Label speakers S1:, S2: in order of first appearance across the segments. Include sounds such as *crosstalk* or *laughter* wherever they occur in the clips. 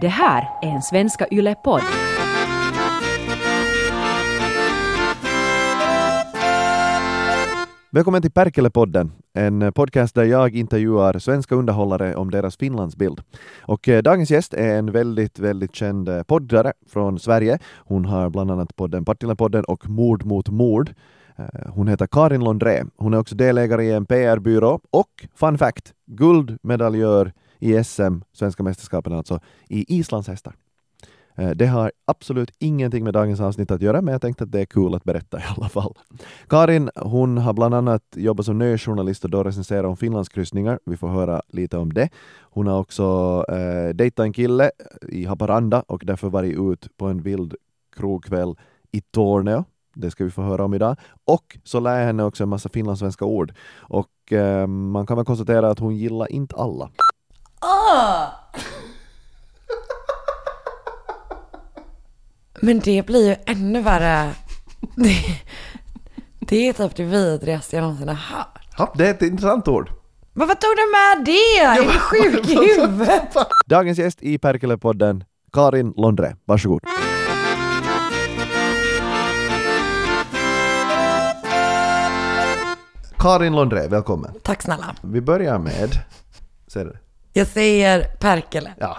S1: Det här är en Svenska Yle-podd.
S2: Välkommen till Perkele-podden, en podcast där jag intervjuar svenska underhållare om deras Finlandsbild. Och eh, dagens gäst är en väldigt, väldigt känd eh, poddare från Sverige. Hon har bland annat podden Partille-podden och Mord mot mord. Eh, Hon heter Karin Londré. Hon är också delägare i en PR-byrå och, fun fact, guldmedaljör i SM, svenska mästerskapen alltså, i islandshästar. Eh, Det har absolut ingenting med dagens avsnitt att göra, men jag tänkte att det är kul cool att berätta i alla fall. Karin, hon har bland annat jobbat som nöjesjournalist och då recenserar hon Finlandskryssningar. Vi får höra lite om det. Hon har också eh, dejtat en kille i Haparanda och därför varit ut på en vild krogkväll i Torneo. Det ska vi få höra om idag. Och så lär jag henne också en massa finlandssvenska ord. Och eh, man kan väl konstatera att hon gillar inte alla.
S3: Men det blir ju ännu värre. Det, det är typ det vidrigaste jag någonsin har hört.
S2: Ja, det är ett intressant ord.
S3: Men vad tog du med det? Är du sjuk i huvudet?
S2: Dagens gäst i Perkele-podden, Karin Londre. Varsågod. Karin Londre, välkommen.
S3: Tack snälla.
S2: Vi börjar med, ser du?
S3: Jag säger Perkele.
S2: Ja,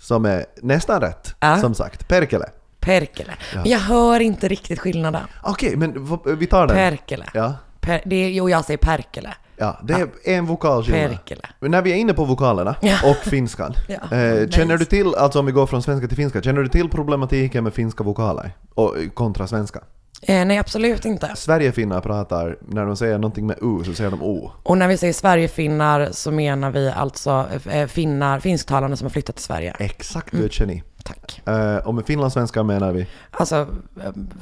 S2: som är nästan rätt,
S3: Ja.
S2: som sagt. Perkele.
S3: Perkele. Men jag hör inte riktigt skillnaden.
S2: Okej, men v- vi tar den.
S3: Perkele.
S2: Ja,
S3: Per, det är, jo, jag säger Perkele.
S2: ja, det är en vokal skillnad.
S3: Perkele.
S2: Men när vi är inne på vokalerna
S3: Ja.
S2: och finskan.
S3: *laughs* Ja,
S2: eh,
S3: nice.
S2: känner du till, alltså om vi går från svenska till finska, känner du till problematiken med finska vokaler? Och, kontra svenska?
S3: Eh, nej, absolut inte.
S2: Sverigefinnar pratar, när de säger någonting med U så säger de O.
S3: Och när vi säger Sverigefinnar så menar vi alltså eh, finnar, finsktalande som har flyttat till Sverige.
S2: Exakt, du är ett geni.
S3: Tack.
S2: Eh, och med finlandssvenska menar vi
S3: Alltså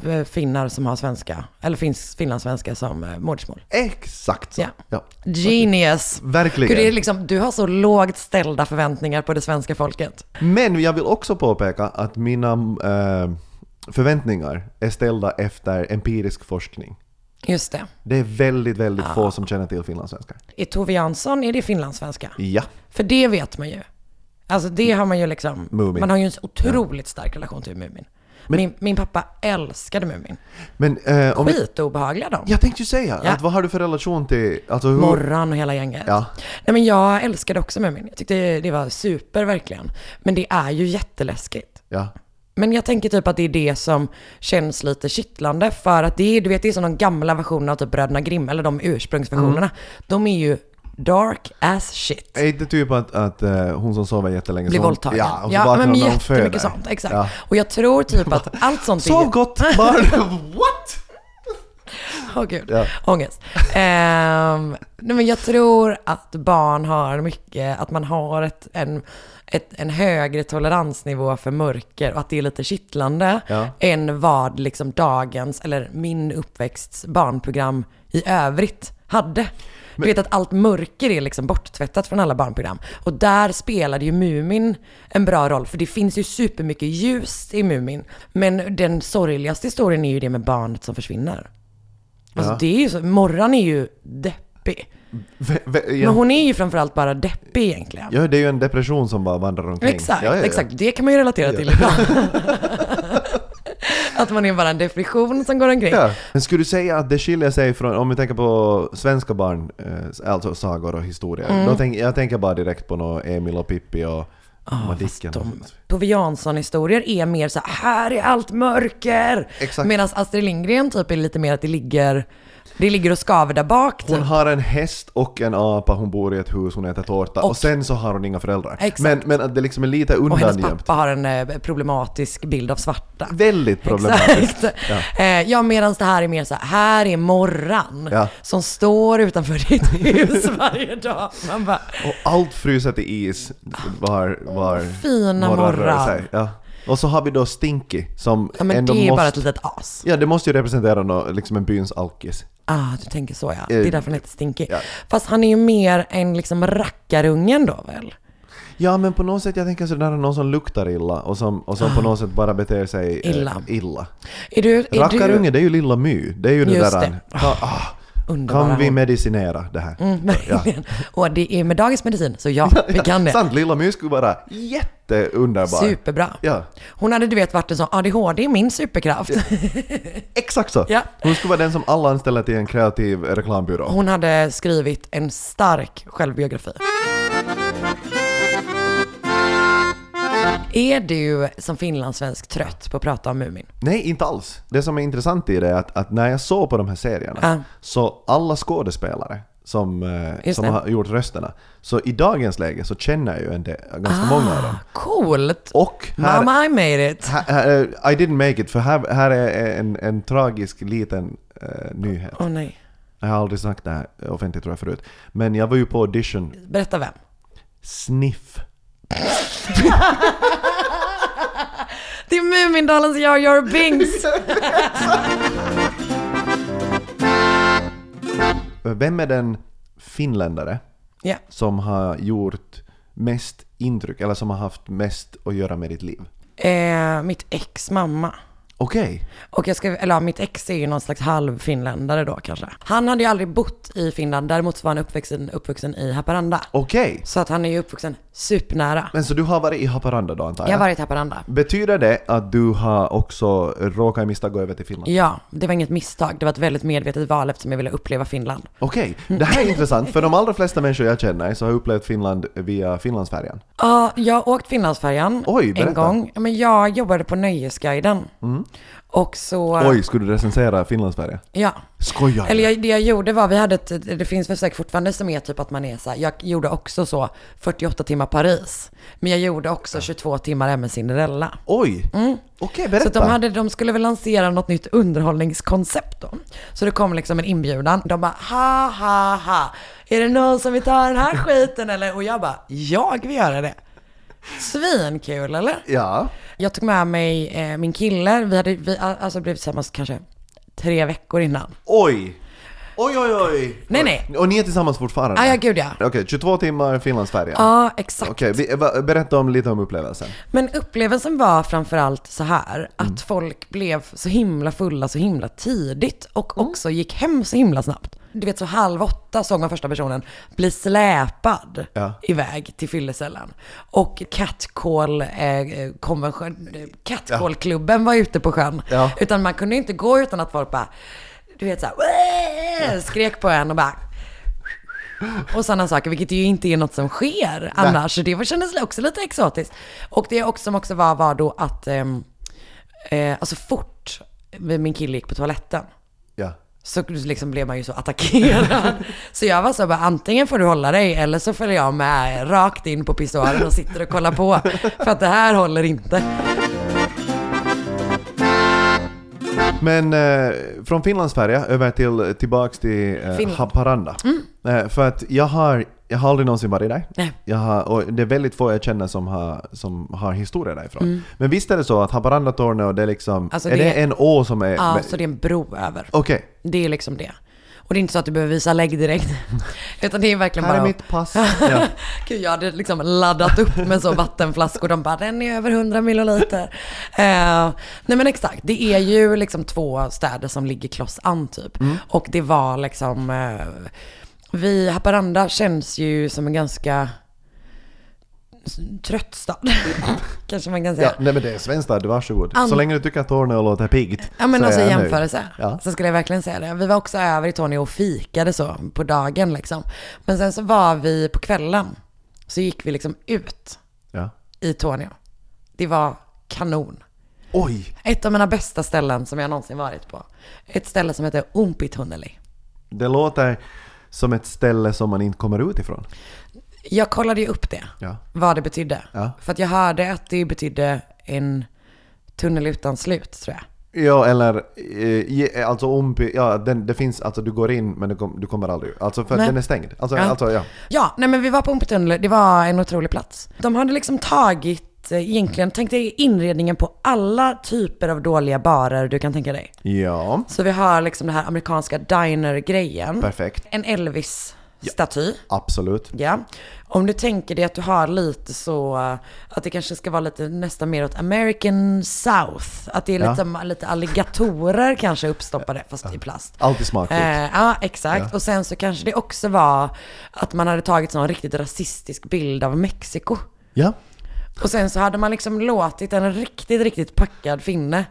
S3: eh, finnar som har svenska, eller finns finlandssvenska som eh, modersmål.
S2: exakt så.
S3: Ja.
S2: Ja.
S3: Genius!
S2: Verkligen.
S3: Gud, det är liksom, du har så lågt ställda förväntningar på det svenska folket.
S2: Men jag vill också påpeka att mina eh, förväntningar är ställda efter empirisk forskning.
S3: Just det.
S2: Det är väldigt, väldigt
S3: Ah.
S2: få som känner till finlandssvenskar.
S3: Är Tove Jansson, är det finlandssvenska?
S2: Ja.
S3: För det vet man ju. Alltså det har man ju liksom,
S2: Mumin.
S3: man har ju en så otroligt stark relation till Mumin. min, min pappa älskade Mumin.
S2: Men eh, om...
S3: Skitobehagliga de.
S2: Jag tänkte ju säga,
S3: Ja.
S2: att vad har du för relation till... Alltså hur...
S3: Morran och hela gänget.
S2: Ja.
S3: Nej men jag älskade också Mumin. Jag tyckte det var super verkligen. Men det är ju jätteläskigt.
S2: Ja.
S3: Men jag tänker typ att det är det som känns lite kittlande för att det är, du vet, det är som de gamla versionerna av typ Bröderna Grimm, eller de ursprungsversionerna.
S2: Mm.
S3: De är ju dark as shit.
S2: Är inte typ att, att eh, hon som sover jättelänge...
S3: Blir
S2: så hon-
S3: våldtagen.
S2: Ja, och så vaknar hon när hon föder.
S3: jättemycket sånt. Exakt.
S2: Ja.
S3: Och jag tror typ att allt
S2: *laughs*
S3: sånt är...
S2: Sov
S3: *laughs*
S2: gott barn! What?
S3: Åh gud,
S2: Ja.
S3: ångest. Ehm, nej, men jag tror att barn har mycket, att man har ett, en, ett, en högre toleransnivå för mörker och att det är lite kittlande
S2: Ja.
S3: än vad liksom dagens, eller min uppväxts barnprogram i övrigt hade. Du vet att allt mörker är liksom borttvättat från alla barnprogram. Och där spelade ju Mumin en bra roll, för det finns ju supermycket ljus i Mumin. Men den sorgligaste historien är ju det med barnet som försvinner. Alltså
S2: Ja.
S3: det är ju så, Morran är ju deppig.
S2: V- v-
S3: Men
S2: ja.
S3: hon är ju framförallt bara deppig egentligen.
S2: ja, det är ju en depression som bara vandrar omkring.
S3: Exakt,
S2: ja, ja, ja.
S3: exakt. Det kan man ju relatera till ibland. *laughs* att man är bara en depression som går omkring.
S2: Ja. Men skulle du säga att det skiljer sig från, om vi tänker på svenska barn, eh, alltså sagor och historier.
S3: Mm.
S2: Då tänk, jag tänker bara direkt på nå Emil och Pippi och Madicken.
S3: Ah, De Tove Jansson-historier är mer så här, här är allt mörker.
S2: Exakt.
S3: Medan Astrid Lindgren typ är lite mer att det ligger, det ligger och skaver där bak. Typ.
S2: Hon har en häst och en apa, hon bor i ett hus, hon äter tårta och,
S3: Och-
S2: sen så har hon inga föräldrar.
S3: Exakt.
S2: Men, men att det liksom är lite
S3: och hennes
S2: undangömt.
S3: pappa har en eh, problematisk bild av svarta.
S2: Väldigt problematiskt.
S3: Exakt. Ja, ja medan det här är mer så här, här är morran
S2: Ja.
S3: som står utanför ditt hus *laughs* varje dag. Man bara,
S2: Och allt fryser till is var, var
S3: fina morrar.
S2: Ja. Och så har vi då Stinky som
S3: ja men det
S2: ändå
S3: är
S2: måste...
S3: bara ett litet as.
S2: Ja, det måste ju representera nå, liksom en byns alkis.
S3: Ah, du tänker så ja. Det är därför han heter Stinky.
S2: Eh, ja.
S3: Fast han är ju mer en liksom rackarungen då väl?
S2: Ja men på något sätt, jag tänker sådär någon som luktar illa och som, och som på något sätt bara beter sig eh,
S3: Ah. Illa.
S2: illa.
S3: Är du, är du,
S2: Rackarunge, det är ju Lilla My. Det är ju det
S3: Just
S2: där...
S3: det.
S2: han- Ah, ah,
S3: underbara
S2: Kan vi
S3: *laughs* hon.
S2: medicinera det här?
S3: Mm, verkligen. Och det är med dagens medicin,
S2: *laughs*
S3: så ja, vi kan det.
S2: Sant, Lilla My skulle vara jätteunderbar.
S3: Superbra.
S2: Ja,
S3: Hon hade du vet varit en sån, ADHD är min superkraft.
S2: exakt så.
S3: Ja.
S2: Hon skulle vara den som alla anställer till en kreativ reklambyrå.
S3: Hon hade skrivit en stark självbiografi. Är du som finlandssvensk trött på att prata om Mumin?
S2: Nej, inte alls. Det som är intressant i det är att, att när jag såg på de här serierna
S3: Ja.
S2: så alla skådespelare som, eh,
S3: Just
S2: som
S3: det.
S2: har gjort rösterna, så i dagens läge så känner jag ju en del, ganska många av dem.
S3: Coolt!
S2: Och här,
S3: Ah. Mamma I made it!
S2: här, här, eh, I didn't make it, för här, här är en, en tragisk liten eh, nyhet.
S3: Åh nej.
S2: Jag har aldrig sagt det här offentligt tror jag förut. Men jag var ju på audition,
S3: Berätta vem?
S2: Sniff.
S3: Det är Mumindalens Jar Jar
S2: *laughs*
S3: Binks!
S2: Vem är den finländare
S3: Ja.
S2: som har gjort mest intryck, eller som har haft mest att göra med ditt liv?
S3: Eh, mitt ex mamma.
S2: Okej.
S3: Och jag ska, eller ja, mitt ex är ju någon slags halvfinländare då kanske. Han hade ju aldrig bott i Finland, däremot så var han uppvuxen, uppvuxen i Haparanda.
S2: Okej.
S3: Så att han är ju uppvuxen supernära.
S2: Men så du har varit i Haparanda då antar
S3: Jag har
S2: jag?
S3: varit i Haparanda.
S2: Betyder det att du har också råkat i misstag gå över till Finland?
S3: Ja, det var inget misstag. Det var ett väldigt medvetet val eftersom jag ville uppleva Finland.
S2: Okej, det
S3: *laughs*
S2: här är intressant för de allra flesta människor jag känner så har upplevt Finland via Finlandsfärjan.
S3: Ja, jag har åkt Finlandsfärjan
S2: Oj, berätta. Mm.
S3: en gång. Ja, Men jag jobbade på Nöjesguiden. Och så...
S2: Oj, skulle du recensera Finlandsfärjan?
S3: Ja,
S2: Skojar
S3: Eller
S2: du?
S3: jag, det jag gjorde var, vi hade ett, det finns väl säkert fortfarande som är typ att man är så här, jag gjorde också så 48 timmar Paris, men jag gjorde också 22 timmar även Cinderella.
S2: Oj! Okej,
S3: Mm. Så
S2: berätta!
S3: att de, hade, de skulle väl lansera något nytt underhållningskoncept då. Så det kom liksom en inbjudan. De bara ha ha ha. Är det någon som vill ta den här skiten eller? Och jag bara, jag vill göra det. Svinkul eller?
S2: Ja.
S3: Jag tog med mig eh, min kille. Vi hade vi, alltså blivit tillsammans kanske tre veckor innan.
S2: Oj! Oj, oj, oj!
S3: Nej, nej.
S2: Och ni är tillsammans fortfarande?
S3: Ah, ja, gud ja.
S2: Okej, 22 timmar Finlandsfärjan.
S3: Ja, exakt.
S2: Okej, vi- va- berätta om, lite om upplevelsen.
S3: Men upplevelsen var framförallt så här, att folk blev så himla fulla så himla tidigt och också gick hem så himla snabbt. Du vet så halv åtta såg man första personen bli släpad
S2: Ja.
S3: iväg till fyllecellen. Och eh, catcall-klubben var ute på sjön.
S2: Ja.
S3: Utan man kunde inte gå utan att folk bara, du vet så här, "Wah!" skrek på en och bara och sådana saker, vilket ju inte är något som sker annars. Så det var- kändes också lite exotiskt. Och det också, som också var, var då att, ehm, eh, alltså fort min kille gick på toaletten
S2: Ja.
S3: så liksom blev man ju
S2: *laughs*
S3: så attackerad. Så jag var så bara, antingen får du hålla dig eller så följer jag med rakt in på pissoaren och sitter och kollar på. För att det här håller inte.
S2: Men eh, från Finlandsfärja över till, tillbaks till eh,
S3: Finland. Mm.
S2: Haparanda. Eh, för att jag har, jag har aldrig någonsin varit där.
S3: Nej.
S2: Jag har, och det är väldigt få jag känner som har, som har historia därifrån. Men visst är det så att Haparanda-tornet och det är liksom,
S3: Mm. Alltså
S2: är det,
S3: det-
S2: en å som är...
S3: Ja,
S2: men-
S3: så det är en bro över.
S2: Okej,
S3: Det är liksom det. Och det är inte så att du behöver visa
S2: *laughs*
S3: lägg direkt. Utan det är verkligen
S2: här
S3: bara
S2: är
S3: att-
S2: mitt
S3: *laughs*
S2: pass. ja.
S3: Gud, jag hade liksom laddat upp med så vattenflaskor. De bara, den är över 100 milliliter. Eh, nej men exakt, det är ju liksom två städer som ligger kloss an typ. Och det var liksom, eh, vi, Haparanda känns ju som en ganska s- trött stad. *laughs* Kanske man kan säga.
S2: Ja, nej men det är svenskt där, varsågod.
S3: An-
S2: Så länge du tycker att tornet låter piggt
S3: Ja men
S2: så
S3: alltså
S2: är
S3: i
S2: jag nöjd.
S3: jämförelse.
S2: Ja.
S3: Så skulle jag verkligen säga det. Vi var också över i Tony och fikade så på dagen liksom. Men sen så var vi på kvällen. Så gick vi liksom ut
S2: Ja.
S3: i Tornio. Det var kanon.
S2: Oj!
S3: Ett av mina bästa ställen som jag någonsin varit på. Ett ställe som heter Umpitunneli.
S2: Det låter som ett ställe som man inte kommer ut ifrån.
S3: Jag kollade ju upp det,
S2: Ja.
S3: vad det betydde.
S2: Ja.
S3: För att jag hörde att det betydde en tunnel utan slut, tror jag.
S2: Ja, eller eh, ge- alltså om, ja, den, det finns, alltså du går in men du, kom, du kommer aldrig ut. Alltså för att
S3: Nej.
S2: den är stängd. Alltså,
S3: Ja.
S2: alltså ja.
S3: Ja, nej men vi var på Umpitunneli, det var en otrolig plats. De hade liksom tagit, eh, egentligen, tänk dig inredningen på alla typer av dåliga barer du kan tänka dig.
S2: Ja,
S3: Så vi har liksom den här amerikanska diner-grejen.
S2: perfekt.
S3: En Elvis staty.
S2: Absolut.
S3: Ja. Om du tänker dig att du har lite så, eh, att det kanske ska vara lite nästan mer åt American South. Att det är
S2: Ja.
S3: liksom, lite alligatorer kanske uppstoppade, fast i plast.
S2: Alltid smakfullt.
S3: Eh, ja, exakt. Och sen så kanske det också var att man hade tagit sån riktigt rasistisk bild av Mexiko.
S2: Ja.
S3: Och sen så hade man liksom låtit en riktigt, riktigt packad finne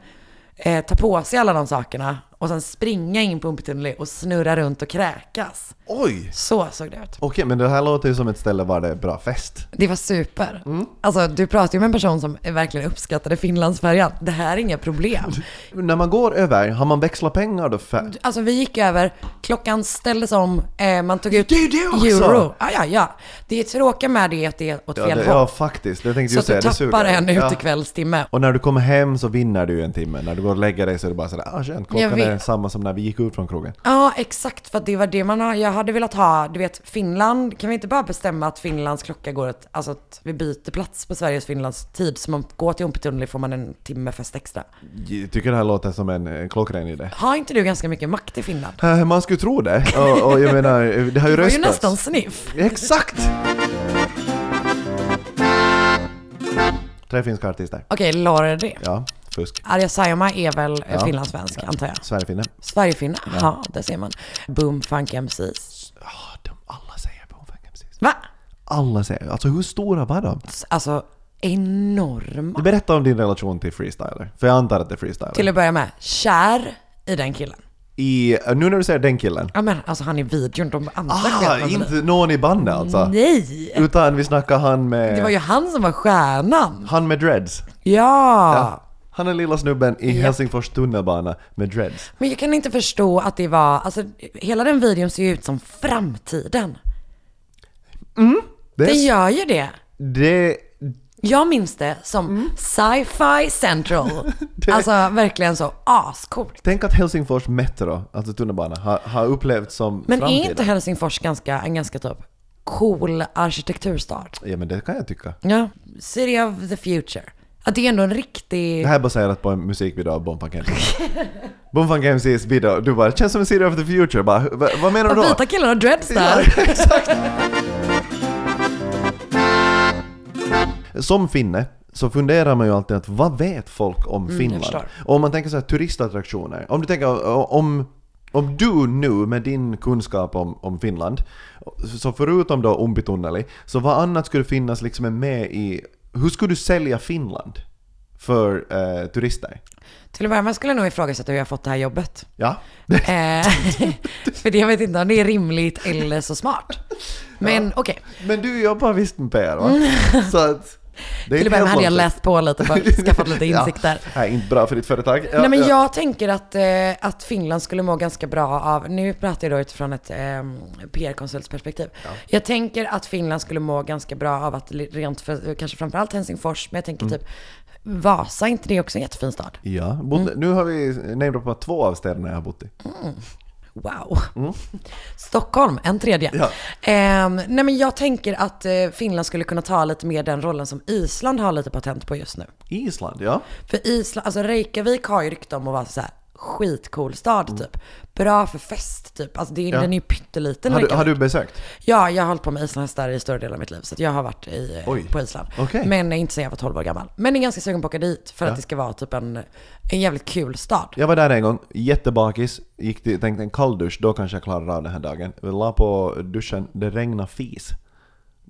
S3: eh, ta på sig alla de sakerna och sen springa in på Umpitunneli och snurra runt och kräkas.
S2: Oj!
S3: Så såg det ut.
S2: Okej, men det här låter ju som ett ställe var det är bra fest.
S3: Det var super. Alltså du pratar ju med en person som verkligen uppskattade Finlandsfärjan. Det här är inga problem.
S2: *laughs* När man går över, har man växlat pengar då? För...
S3: Alltså vi gick över, klockan ställdes om, eh, man tog ut
S2: Det är ju det också!
S3: euro. Ja, ja, ja. Det tråkiga med det är att det är åt
S2: Ja,
S3: fel
S2: det,
S3: håll.
S2: ja, faktiskt. Jag tänkte
S3: Så att
S2: just
S3: du
S2: säga, det
S3: tappar
S2: suger.
S3: en ut i
S2: Ja.
S3: kvällstimme.
S2: Och när du kommer hem så vinner du ju en timme. När du går och lägger dig så är det bara sådär, ah skönt, klockan är
S3: vet.
S2: samma som när vi gick ut från krogen.
S3: Ja, exakt. För att det var det man har, jag hade velat ha. Du vet, Finland, kan vi inte bara bestämma att Finlands klocka går ett, alltså att vi byter plats på Sveriges och Finlands tid. Så man går till Umpetunneli får man en timme fest extra.
S2: Jag tycker det här låter som en eh, klockren idé.
S3: Har inte du ganska mycket makt i Finland?
S2: Eh, Man skulle tro det. Och, och jag menar, eh, det har ju
S3: Du var ju
S2: röstats.
S3: nästan sniff.
S2: Exakt! Tre finska artister.
S3: Okej, Laura det.
S2: Ja, fusk.
S3: Arja Saijonmaa är väl eh,
S2: Ja.
S3: finlandssvensk, antar jag?
S2: Sverigefinne.
S3: Sverigefinne? Ja, där ser man. Boom, funk MCs.
S2: Ja, ah, de alla säger Bonfire precis.
S3: Va?
S2: Alla säger, alltså hur stora var de?
S3: S- Alltså, enorma.
S2: Berätta om din relation till freestyler, för jag antar att det är freestyler.
S3: Till att börja med, kär i den killen.
S2: I, eh, nu när du säger den killen.
S3: Ja men alltså han i videon, de andra
S2: Ah,
S3: stjärnorna.
S2: inte någon i bandet alltså?
S3: Nej!
S2: Utan vi snackar han med...
S3: Det var ju han som var stjärnan.
S2: Han med dreads. Ah.
S3: Ja.
S2: Han är lilla snubben i Helsingfors tunnelbana med dreads.
S3: Men jag kan inte förstå att det var, alltså hela den videon ser ju ut som framtiden.
S2: Det,
S3: Den
S2: är-
S3: gör ju det.
S2: det,
S3: Jag minns det som
S2: Mm. *laughs*
S3: sci-fi central. Alltså verkligen så ascoolt.
S2: tänk att Helsingfors Metro, alltså tunnelbana, har, har upplevts som
S3: Men
S2: framtiden.
S3: är inte Helsingfors ganska, en ganska typ cool arkitekturstad?
S2: Ja men det kan jag tycka.
S3: Ja. City of the future. Att det är ändå en riktig...
S2: Det här är baserat på en musikvideo av Bonfunk
S3: *laughs*
S2: MCs. Bonfunk MCs video, du bara “Känns som en serie of the future”, bara, "Va- vad menar du
S3: De
S2: då?
S3: vita killarna har dreads
S2: Ja,
S3: där.
S2: *laughs* exakt. Som finne så funderar man ju alltid att vad vet folk om Finland?
S3: Mm, förstår.
S2: Och om man tänker så här turistattraktioner. Om du tänker eh, om, om du nu med din kunskap om, om Finland, så förutom då Umpitunneli, så vad annat skulle finnas liksom med i, hur skulle du sälja Finland för eh, turister?
S3: Till att börja med skulle jag nog ifrågasätta hur jag fått det här jobbet.
S2: Ja, *laughs*
S3: Eh, *laughs* för det jag vet inte om det är rimligt eller så smart. Men okej,
S2: men du jobbar visst med PR va? Så att, det är
S3: Mm. till
S2: inte
S3: att
S2: helt
S3: börja med hade jag
S2: långsökt.
S3: läst på
S2: *laughs*
S3: lite för att skaffat lite insikter.
S2: Ja. Nej, inte bra för ditt företag. Ja,
S3: Nej men
S2: ja.
S3: jag tänker att, eh, att Finland skulle må ganska bra av, nu pratar jag då utifrån ett eh, PR-konsultsperspektiv. Jag tänker att Finland skulle må ganska bra av att li- rent, för, kanske framförallt Helsingfors, men jag tänker
S2: Mm.
S3: typ Vasa, är inte det också en jättefin stad?
S2: Ja, bott,
S3: Mm.
S2: nu har vi namedroppat två av städerna jag har bott i.
S3: Wow. *laughs* Stockholm, en tredje.
S2: Mm. Ja.
S3: Ehm, nej men jag tänker att eh, Finland skulle kunna ta lite mer den rollen som Island har lite patent på just nu.
S2: Island, ja.
S3: För Island, alltså Reykjavik har ju rykte om att vara så här skitcool stad typ. Bra för fest typ. Alltså det, är-
S2: Mm. Ja.
S3: den är ju pytteliten
S2: Har du,
S3: Reykjavik.
S2: har du besökt?
S3: Ja, jag har hållit på med islandshästar i större delen av mitt liv. Så att jag har varit i, eh,
S2: Oj.
S3: på Island.
S2: Okej.
S3: Men inte sen jag var 12 år gammal. Men är ganska sugen på att åka dit för att det ska vara typ en, en jävligt kul stad.
S2: Jag var där en gång, jättebakis, gick till, tänkte en kalldusch, då kanske jag klarar av den här dagen. Jag la på duschen, det regnade fis.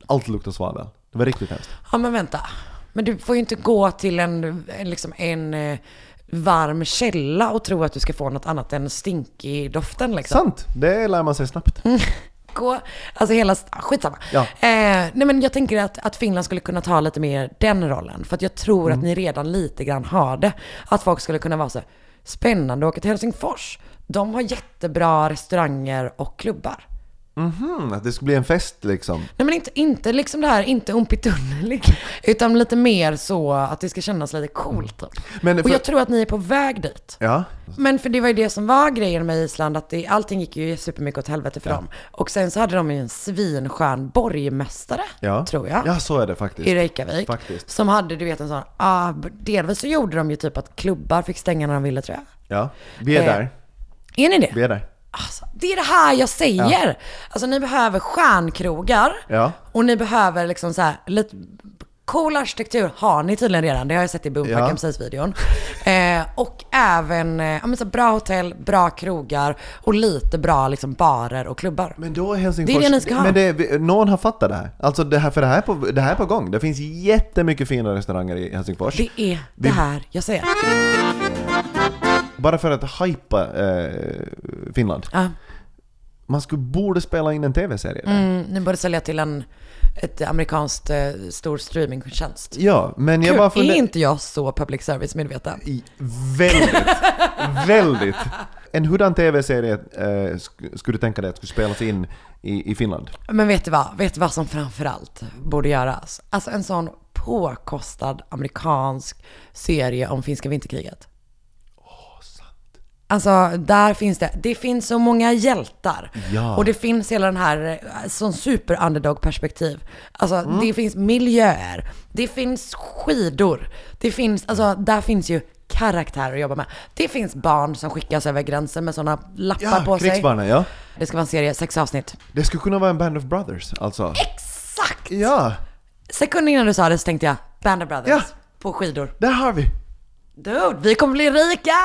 S2: Allt luktade svavel. Det var riktigt hemskt.
S3: Ja men vänta. Men du får ju inte gå till en, en, liksom en eh, varm källa och tro att du ska få något annat än stinkig doften liksom.
S2: Sant! Det lär man sig snabbt.
S3: Mm. Gå, alltså hela, st- ah, skitsamma.
S2: Ja.
S3: Eh, nej men jag tänker att, att Finland skulle kunna ta lite mer den rollen. För att jag tror
S2: Mm.
S3: att ni redan lite grann har det. Att folk skulle kunna vara så här, spännande att åka till Helsingfors. De har jättebra restauranger och klubbar.
S2: Mm, att det skulle bli en fest liksom.
S3: Nej men inte, inte liksom det här, inte umpitunnelig,
S2: *laughs*
S3: utan lite mer så att det ska kännas lite coolt. Typ.
S2: Men
S3: Och
S2: för-
S3: jag tror att ni är på väg dit.
S2: Ja.
S3: Men för det var ju det som var grejen med Island, att det, allting gick ju supermycket åt helvete för dem. Och sen så hade de ju en svinskön borgmästare,
S2: ja.
S3: tror jag.
S2: Ja, så är det faktiskt.
S3: I Reykjavik.
S2: Faktiskt.
S3: Som hade, du vet, en sån, ah, delvis så gjorde de ju typ att klubbar fick stänga när de ville tror jag.
S2: Ja. Vi är
S3: Eh.
S2: där.
S3: Är ni det?
S2: Vi är där.
S3: Alltså, det är det här jag säger! Alltså ni behöver stjärnkrogar
S2: Ja.
S3: och ni behöver liksom så här, lite cool arkitektur har ni tydligen redan. Det har jag sett i
S2: Ja.
S3: Boomparken precis videon. Eh, och även eh, ja, men så här, bra hotell, bra krogar och lite bra liksom, barer och klubbar.
S2: Men då är Helsingfors...
S3: Det är det ni ska ha.
S2: Men det, någon har fattat det här. Alltså det här, för det här, är på, det här är på gång. Det finns jättemycket fina restauranger i Helsingfors.
S3: Det är det
S2: Vi-
S3: här jag säger.
S2: Bara för att hypa eh, Finland.
S3: Ja.
S2: Man skulle, borde spela in en TV-serie där.
S3: Mm, nu borde sälja till en ett amerikanskt eh, stor streamingtjänst.
S2: Ja, men jag
S3: Kul,
S2: bara
S3: är
S2: funderar...
S3: inte jag så public service-medveten?
S2: I- Väldigt, väldigt. En hurdan TV-serie eh, sk- skulle du tänka dig att skulle spelas in i, i Finland?
S3: Men vet du vad? Vet du vad som framförallt borde göras? Alltså en sån påkostad amerikansk serie om finska vinterkriget. Alltså där finns det, det finns så många hjältar.
S2: Ja.
S3: Och det finns hela den här, eh, sån super underdog perspektiv. Alltså
S2: Mm.
S3: det finns miljöer, det finns skidor, det finns, alltså där finns ju karaktärer att jobba med. Det finns barn som skickas över gränsen med sådana lappar på sig.
S2: krigsbarnen, ja.
S3: Det ska vara en serie, sex avsnitt.
S2: Det skulle kunna vara en Band of Brothers, alltså.
S3: Exakt!
S2: Ja,
S3: Sekunden innan du sa det så tänkte jag Band of Brothers
S2: Ja.
S3: på skidor.
S2: där har vi!
S3: Dude, vi kommer bli rika!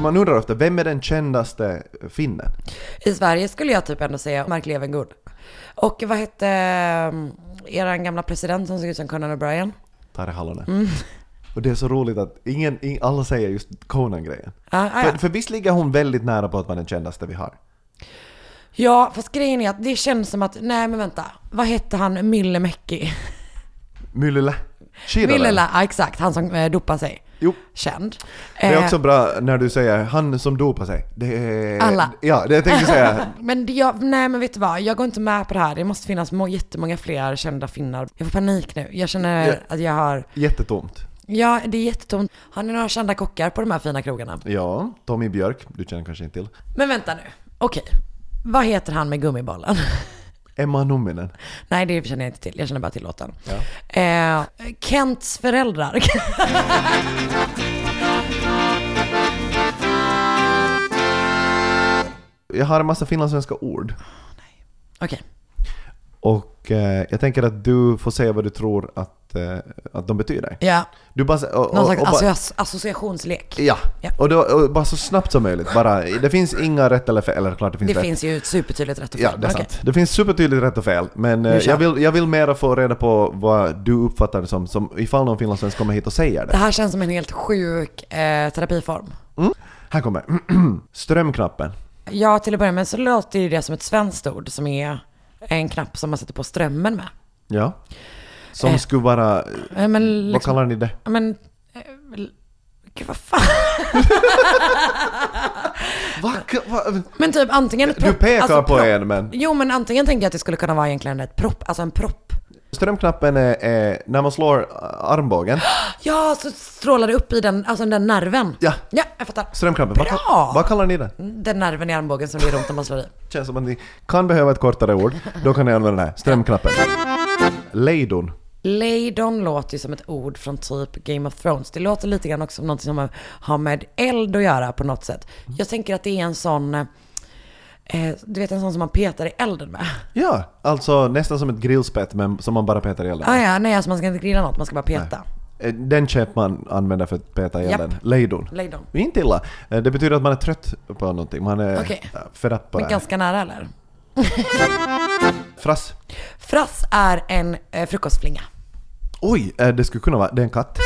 S2: Man undrar ofta, vem är den kändaste finnen?
S3: I Sverige skulle jag typ ändå säga Mark Levengood. Och vad hette eh, eran gamla president som såg ut som Conan O'Brien?
S2: Tarja Halonen.
S3: Mm.
S2: Och det är så roligt att ingen, ing- alla säger just Conan-grejen.
S3: Ja, Ah, ja, ja.
S2: För, för visst ligger hon väldigt nära på att vara den kändaste vi har?
S3: Ja, fast grejen är att det känns som att, nej men vänta, vad hette han, Myllymäki?
S2: Myllylä? Kilönen.
S3: Myllyla, ja exakt, han som eh, dopar sig.
S2: Jo.
S3: Känd.
S2: Det är
S3: Eh,
S2: också bra när du säger han som dopar sig. Det är,
S3: Alla.
S2: Ja, det tänkte jag
S3: *laughs*
S2: säga.
S3: Eh, Men det- jag, nej men vet du vad, jag går inte med på det här. Det måste finnas må, jättemånga fler kända finnar. Jag får panik nu. Jag känner
S2: Ja.
S3: att jag har
S2: Jättetomt.
S3: Ja, det är jättetomt. Har ni några kända kockar på de här fina krogarna?
S2: Ja, Tommy Björk, du känner kanske inte till.
S3: Men vänta nu. Okej. Vad heter han med gummibollen? *laughs*
S2: Emma Numminen.
S3: Nej, det känner jag inte till. Jag känner bara till låten. Eh, Kents föräldrar. *laughs*
S2: Jag har en massa finlandssvenska ord.
S3: Okej.
S2: Och eh, jag tänker att du får säga vad du tror att, eh, att de betyder.
S3: Ja.
S2: Du bara... sä- Och, och,
S3: Någon
S2: och,
S3: slags
S2: bara-
S3: associa- associationslek.
S2: Ja,
S3: Ja.
S2: och, då, och bara så snabbt som möjligt. Bara, det finns inga rätt eller fel, eller klart det finns
S3: Det
S2: rätt.
S3: finns ju ett supertydligt rätt och fel.
S2: Ja, det är
S3: men okej.
S2: sant. Det finns supertydligt rätt och fel, men eh,
S3: kör
S2: jag vill, jag vill mera få reda på vad du uppfattar det som, som ifall någon finlandssvensk kommer hit och säger
S3: Det
S2: det.
S3: här känns som en helt sjuk eh, terapiform.
S2: Här kommer *clears throat* strömknappen.
S3: Ja, till att börja med så låter ju det som ett svenskt ord som är en knapp som man sätter på strömmen med.
S2: Ja. Som
S3: Eh.
S2: skulle vara... eh,
S3: Eh, Men
S2: Vad
S3: liksom,
S2: kallar ni det?
S3: Ja, men... eh, l- Gud, vad fan?
S2: Va, va,
S3: Men typ antingen ett
S2: du
S3: propp-
S2: pekar
S3: alltså
S2: på
S3: propp-
S2: en, men...
S3: Jo men antingen tänker jag att det skulle kunna vara egentligen ett propp, alltså en propp.
S2: Strömknappen är, är när man slår eh, armbågen.
S3: Ja, så strålar det upp i den, alltså den nerven.
S2: Ja,
S3: Ja, jag fattar.
S2: strömknappen. Vad, ka-
S3: Bra!
S2: vad kallar ni det?
S3: Den nerven i armbågen som blir runt när man slår i.
S2: Känns som att ni kan behöva ett kortare ord. Då kan ni använda den här. Strömknappen. Lejdon.
S3: Lejdon låter ju som ett ord från typ Game of Thrones. Det låter lite grann också som något som har med eld att göra på något sätt. Jag tänker att det är en sån, eh, du vet en sån som man petar i elden med.
S2: Ja, alltså nästan som ett grillspett men som man bara petar i elden.
S3: Ah, ja, nej alltså man ska inte grilla något, man ska bara peta.
S2: Eh, Den käpp man använder för att peta i
S3: Japp.
S2: elden. Lejdon.
S3: Lejdon.
S2: Det är inte illa. Eh, Det betyder att man är trött på någonting. Man är
S3: Okej.
S2: eh, fed up på det.
S3: Men
S2: här.
S3: ganska nära eller?
S2: Frass.
S3: Frass är en eh, frukostflinga.
S2: Oj, eh, det skulle kunna vara... Det är en katt.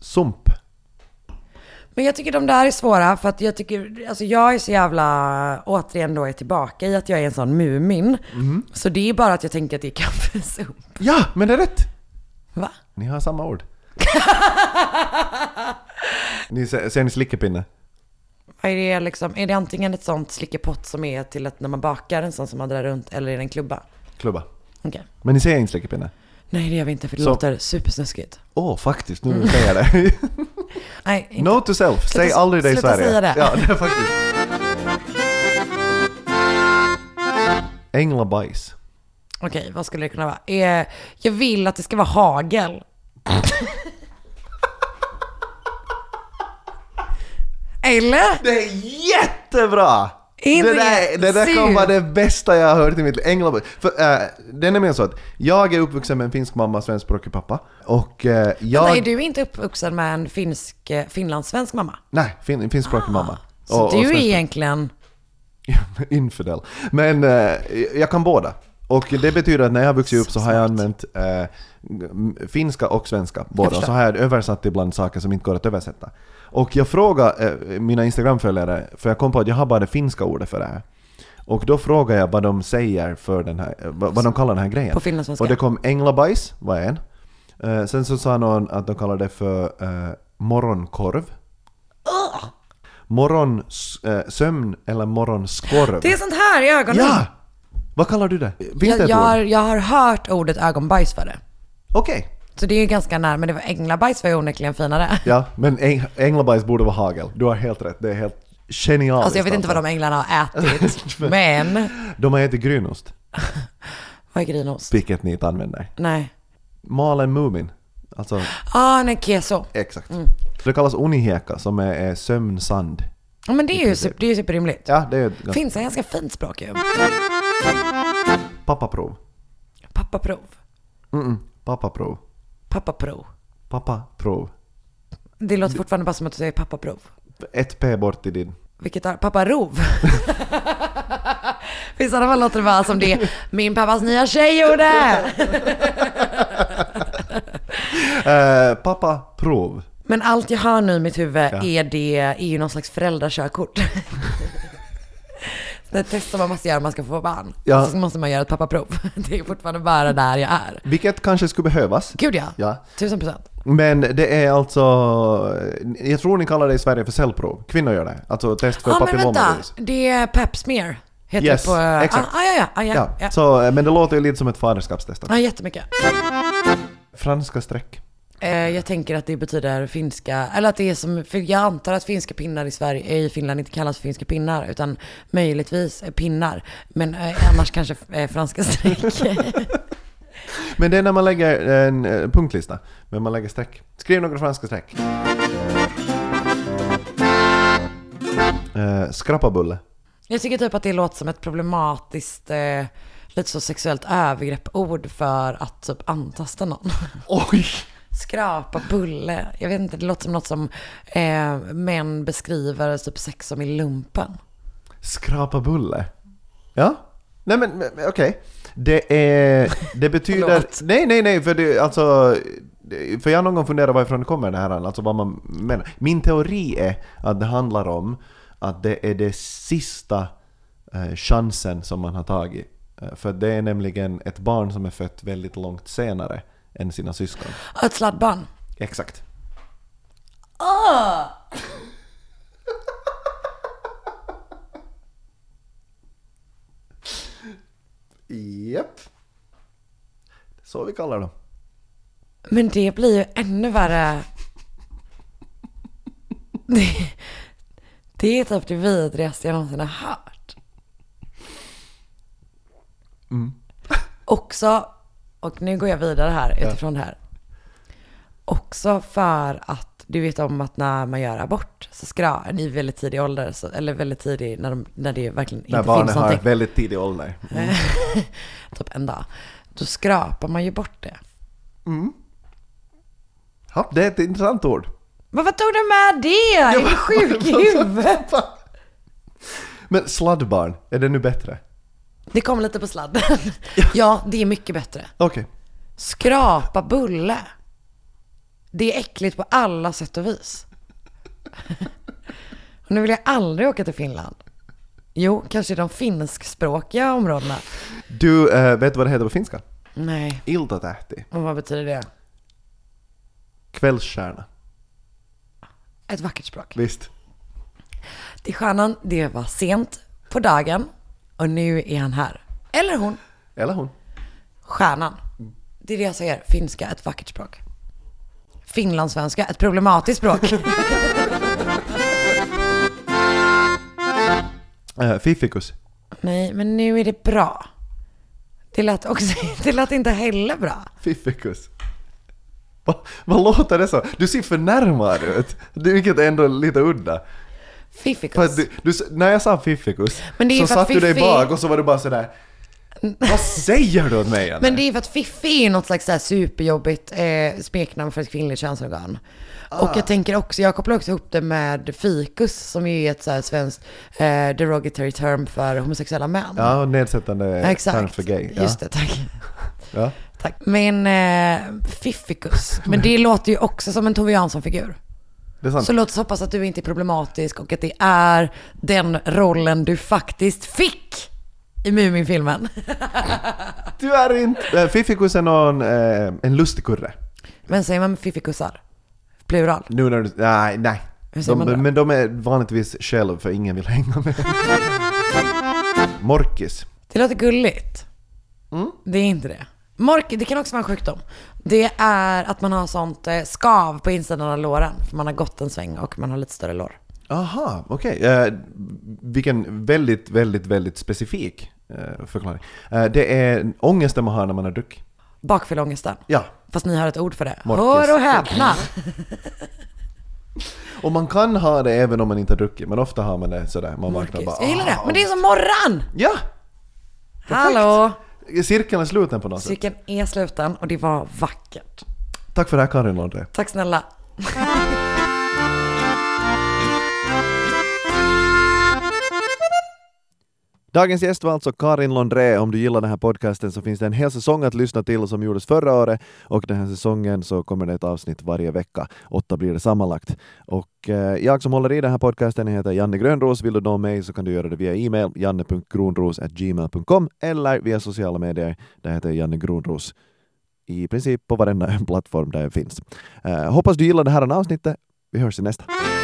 S2: Sump.
S3: Men jag tycker de där är svåra för att jag tycker, alltså jag är så jävla, återigen då är jag tillbaka i att jag är en sån Mumin. Så det är bara att jag tänker att det är kaffesump.
S2: Ja, men det är rätt!
S3: Va?
S2: Ni har samma
S3: *laughs*
S2: ord. ni ser, ser ni slickepinne?
S3: Vad Är det, liksom, är det antingen ett sånt slickepott som är till att när man bakar, en sån som man drar runt, eller är det en klubba?
S2: Klubba.
S3: Okej.
S2: Men ni ser inte slickepinne?
S3: Nej det gör vi inte för det
S2: Så-
S3: låter supersnuskigt.
S2: Åh, faktiskt, nu när du säger det.
S3: Nej, inte.
S2: Note to self, säg
S3: Mm. Sluta-
S2: aldrig det i
S3: sluta
S2: Sverige.
S3: säga det.
S2: Ja, det är faktiskt. Änglabajs.
S3: Okej, vad skulle det kunna vara? Eh, jag vill att det ska vara hagel. Eller?
S2: Det är jättebra!
S3: Inte
S2: det där, det där
S3: jättesur.
S2: kan vara det bästa jag har hört i mitt liv. Änglaborg. För, äh, det är nämligen så att jag är uppvuxen med en finsk mamma och svenskspråkig pappa. Och eh,
S3: Jag... Är
S2: jag...
S3: du inte uppvuxen med en finsk, eh, finlandssvensk mamma?
S2: Nej, fin, finskspråkig mamma.
S3: Ah, Så
S2: Och- och
S3: du är
S2: svenskspråkig.
S3: egentligen...
S2: *laughs* Infidel. Men eh, jag kan båda. Och det betyder att när jag har vuxit upp så har jag använt eh, m- finska och svenska båda.
S3: förstår.
S2: Så har jag översatt ibland saker som inte går att översätta. Och jag frågade eh, mina Instagram-följare, för jag kom på att jag har bara det finska ordet för det här. Och då frågade jag vad de säger för den här, eh, vad vad de kallar den här grejen.
S3: På finlandssvenska.
S2: Och det kom änglabajs, var en. Eh, sen så sa någon att de kallar det för eh, morgonkorv. Morgon, eh, sömn eller morgonskorv.
S3: Det är sånt här i ögonen.
S2: Ja! Vad kallar du det? Finns det
S3: jag,
S2: ett
S3: jag,
S2: ord?
S3: har, jag har hört ordet ögonbajs för det.
S2: Okej.
S3: Så det är ju ganska nära, men det var änglabajs var ju onekligen finare.
S2: Ja, men äng änglabajs borde vara hagel. Du har helt rätt. Det är helt genialiskt. alltså.
S3: Alltså jag vet inte vad de änglarna har
S2: *laughs*
S3: ätit, men...
S2: De har ätit grynost,
S3: Vad är grinost?
S2: vilket ni inte använder.
S3: Nej.
S2: Malen Mumin. Alltså,
S3: Ah, nej, keso.
S2: exakt.
S3: Mm.
S2: Det kallas unihieka, som är, är sömnsand.
S3: Ja, men det är ju, super, det är ju superrimligt.
S2: Ja, det är ett ganska-
S3: Finns är ganska fint språk ju.
S2: pappaprov.
S3: Pappaprov.
S2: Mm-mm. Pappaprov.
S3: Pappaprov.
S2: Pappaprov.
S3: Det låter fortfarande bara som att du säger pappaprov.
S2: Ett P bort i din.
S3: Vilket
S2: *laughs*
S3: är papparov. I sådana fall låter det bara som det min pappas nya tjej gjorde.
S2: Eh, pappaprov.
S3: Men allt jag hör nu i mitt huvud är, det, är ju någon slags föräldrakörkort. *laughs* Det test som man måste göra om man ska få barn.
S2: Ja.
S3: Så måste man göra ett pappaprov. *laughs* Det är fortfarande bara där jag är.
S2: Vilket kanske skulle behövas.
S3: Gud ja.
S2: Ja.
S3: Tusen procent.
S2: Men det är alltså, jag tror ni kallar det i Sverige för cellprov. Kvinnor gör det. Alltså test för
S3: Ja men vänta,
S2: papillomavirus.
S3: det är pep smear. Heter
S2: Yes,
S3: det på...
S2: exakt.
S3: Ah, ah, ja, ja, ah,
S2: Ja,
S3: ja, ja. ja.
S2: Så, men det låter ju lite som ett faderskapstest.
S3: Ah, jättemycket.
S2: Franska streck.
S3: Eh, jag tänker att det betyder finska, eller att det är som, för jag antar att finska pinnar i Sverige, i Finland inte kallas för finska pinnar, utan möjligtvis eh, pinnar. Men eh, annars kanske eh, franska streck. *laughs*
S2: Men det är när man lägger en eh, punktlista. Men man lägger streck. Skriv några franska streck. Eh, skrappabulle.
S3: Jag tycker typ att det låter som ett problematiskt, eh, lite så sexuellt övergreppord för att typ antasta någon. *laughs*
S2: Oj!
S3: Skrapa, bulle. Jag vet inte, det låter som något som eh, män beskriver typ sex som i lumpen.
S2: Skrapabulle. Ja? Nej men men, okej. Det är... Det betyder...
S3: Förlåt.
S2: nej nej nej för det alltså... det- För jag har någon gång funderat varifrån det kommer det här, alltså vad man menar. Min teori är att det handlar om att det är det sista eh, chansen som man har tagit. Eh, För det är nämligen ett barn som är fött väldigt långt senare än sina syskon.
S3: Ah, Ett sladdbarn.
S2: Exakt. Ah! Japp. Så vi kallar dem.
S3: Men det blir ju ännu värre. Det, det är typ det vidrigaste jag någonsin har hört. Också, och nu går jag vidare här utifrån det här. Också för att du vet om att när man gör abort så skra, i väldigt tidig ålder, så, eller väldigt tidig när, de, när det verkligen
S2: När
S3: inte finns
S2: barnen har
S3: någonting,
S2: väldigt tidig ålder.
S3: typ en dag, då skrapar man ju bort det.
S2: Ja, det är ett intressant ord.
S3: Men vad tog du med det? Är du *laughs* sjuk i huvudet?
S2: Men sladdbarn, är det nu bättre?
S3: Det kom lite på sladden. *laughs* Ja, det är mycket bättre.
S2: Okej.
S3: Skrapa bulle. Det är äckligt på alla sätt och vis. *laughs* Och nu vill jag aldrig åka till Finland. Jo, kanske i de finskspråkiga områdena.
S2: Du, eh, vet du vad det heter på finska?
S3: Nej,
S2: Iltatähti.
S3: och vad betyder det?
S2: Kvällsstjärna.
S3: Ett vackert språk.
S2: Visst?
S3: Till stjärnan, det var sent på dagen och nu är han här. Eller hon.
S2: Eller hon.
S3: Stjärnan. Det är det jag säger. Finska, ett vackert språk. Finlandssvenska, ett
S2: *laughs*
S3: problematiskt språk.
S2: Eh, fiffikus.
S3: Nej, men nu är det bra. Det lät, också, *laughs* det lät inte heller bra.
S2: Fiffikus. Va, vad låter det så? Du ser förnärmad ut. Det- Vilket är ändå lite udda. För
S3: Fiffikus.
S2: att du, du, när jag sa fiffikus
S3: Men det är ju
S2: så
S3: för att
S2: satt du dig
S3: fiffi-
S2: bak och så var du bara sådär Vad säger du åt mig Anna?
S3: Men det är för att fiffi är något slags så här superjobbigt eh, smeknamn för ett kvinnligt könsorgan.
S2: Ah.
S3: Och jag tänker också, jag kopplar också ihop det med fikus som ju är ett så här svenskt eh, derogatory term för homosexuella män.
S2: Ja, nedsättande
S3: Ja,
S2: term för gay. Ja.
S3: Just det, tack.
S2: Ja.
S3: tack. Men eh, fiffikus, men det låter ju också som en Tove Jansson-figur.
S2: Det är sant.
S3: Så låt oss hoppas att du inte är problematisk och att det är den rollen du faktiskt fick i Muminfilmen.
S2: Tyvärr inte. Eh, Fiffikus är någon, eh, en lustig kurre.
S3: Men säger man fiffikussar? Plural.
S2: Nu när du, nej, nej.
S3: Hur säger
S2: De,
S3: man då?
S2: men de är vanligtvis själv för ingen vill hänga
S3: *laughs*
S2: med. Morkis.
S3: Det låter gulligt. Det är inte det. Mork, det kan också vara en sjukdom. Det är att man har sånt eh, skav på insidan av låren. För man har gått en sväng och man har lite större lår.
S2: Aha, okej. Eh, vilken väldigt, väldigt, väldigt specifik eh, förklaring. Eh, det är ångesten man har när man har druckit.
S3: Bakfylleångesten.
S2: Ja,
S3: Fast ni har ett ord för det.
S2: Morkis.
S3: Hör och häpna.
S2: och man kan ha det även om man inte har druckit, men ofta har man det sådär. Man vaknar
S3: Morkis.
S2: bara...
S3: Jag gillar det.
S2: "Ah,
S3: Men det är som morran.
S2: Ja!
S3: Hallå.
S2: Cirkeln är sluten på något sätt.
S3: Cykeln är sluten och det var vackert.
S2: Tack för det här Karin Lundre.
S3: Tack snälla.
S4: Dagens gäst var alltså Karin Londré. Om du gillar den här podcasten så finns det en hel säsong att lyssna till som gjordes förra året och den här säsongen så kommer det ett avsnitt varje vecka. Åtta blir det sammanlagt. Och eh, jag som håller i den här podcasten heter Janne Grönros. Vill du nå mig så kan du göra det via e-mail janne.gronros.gmail.com eller via sociala medier. Där heter jag Janne Grönros *laughs* i princip på varenda plattform där jag finns. Eh, hoppas du gillar det här avsnittet. Vi hörs i nästa.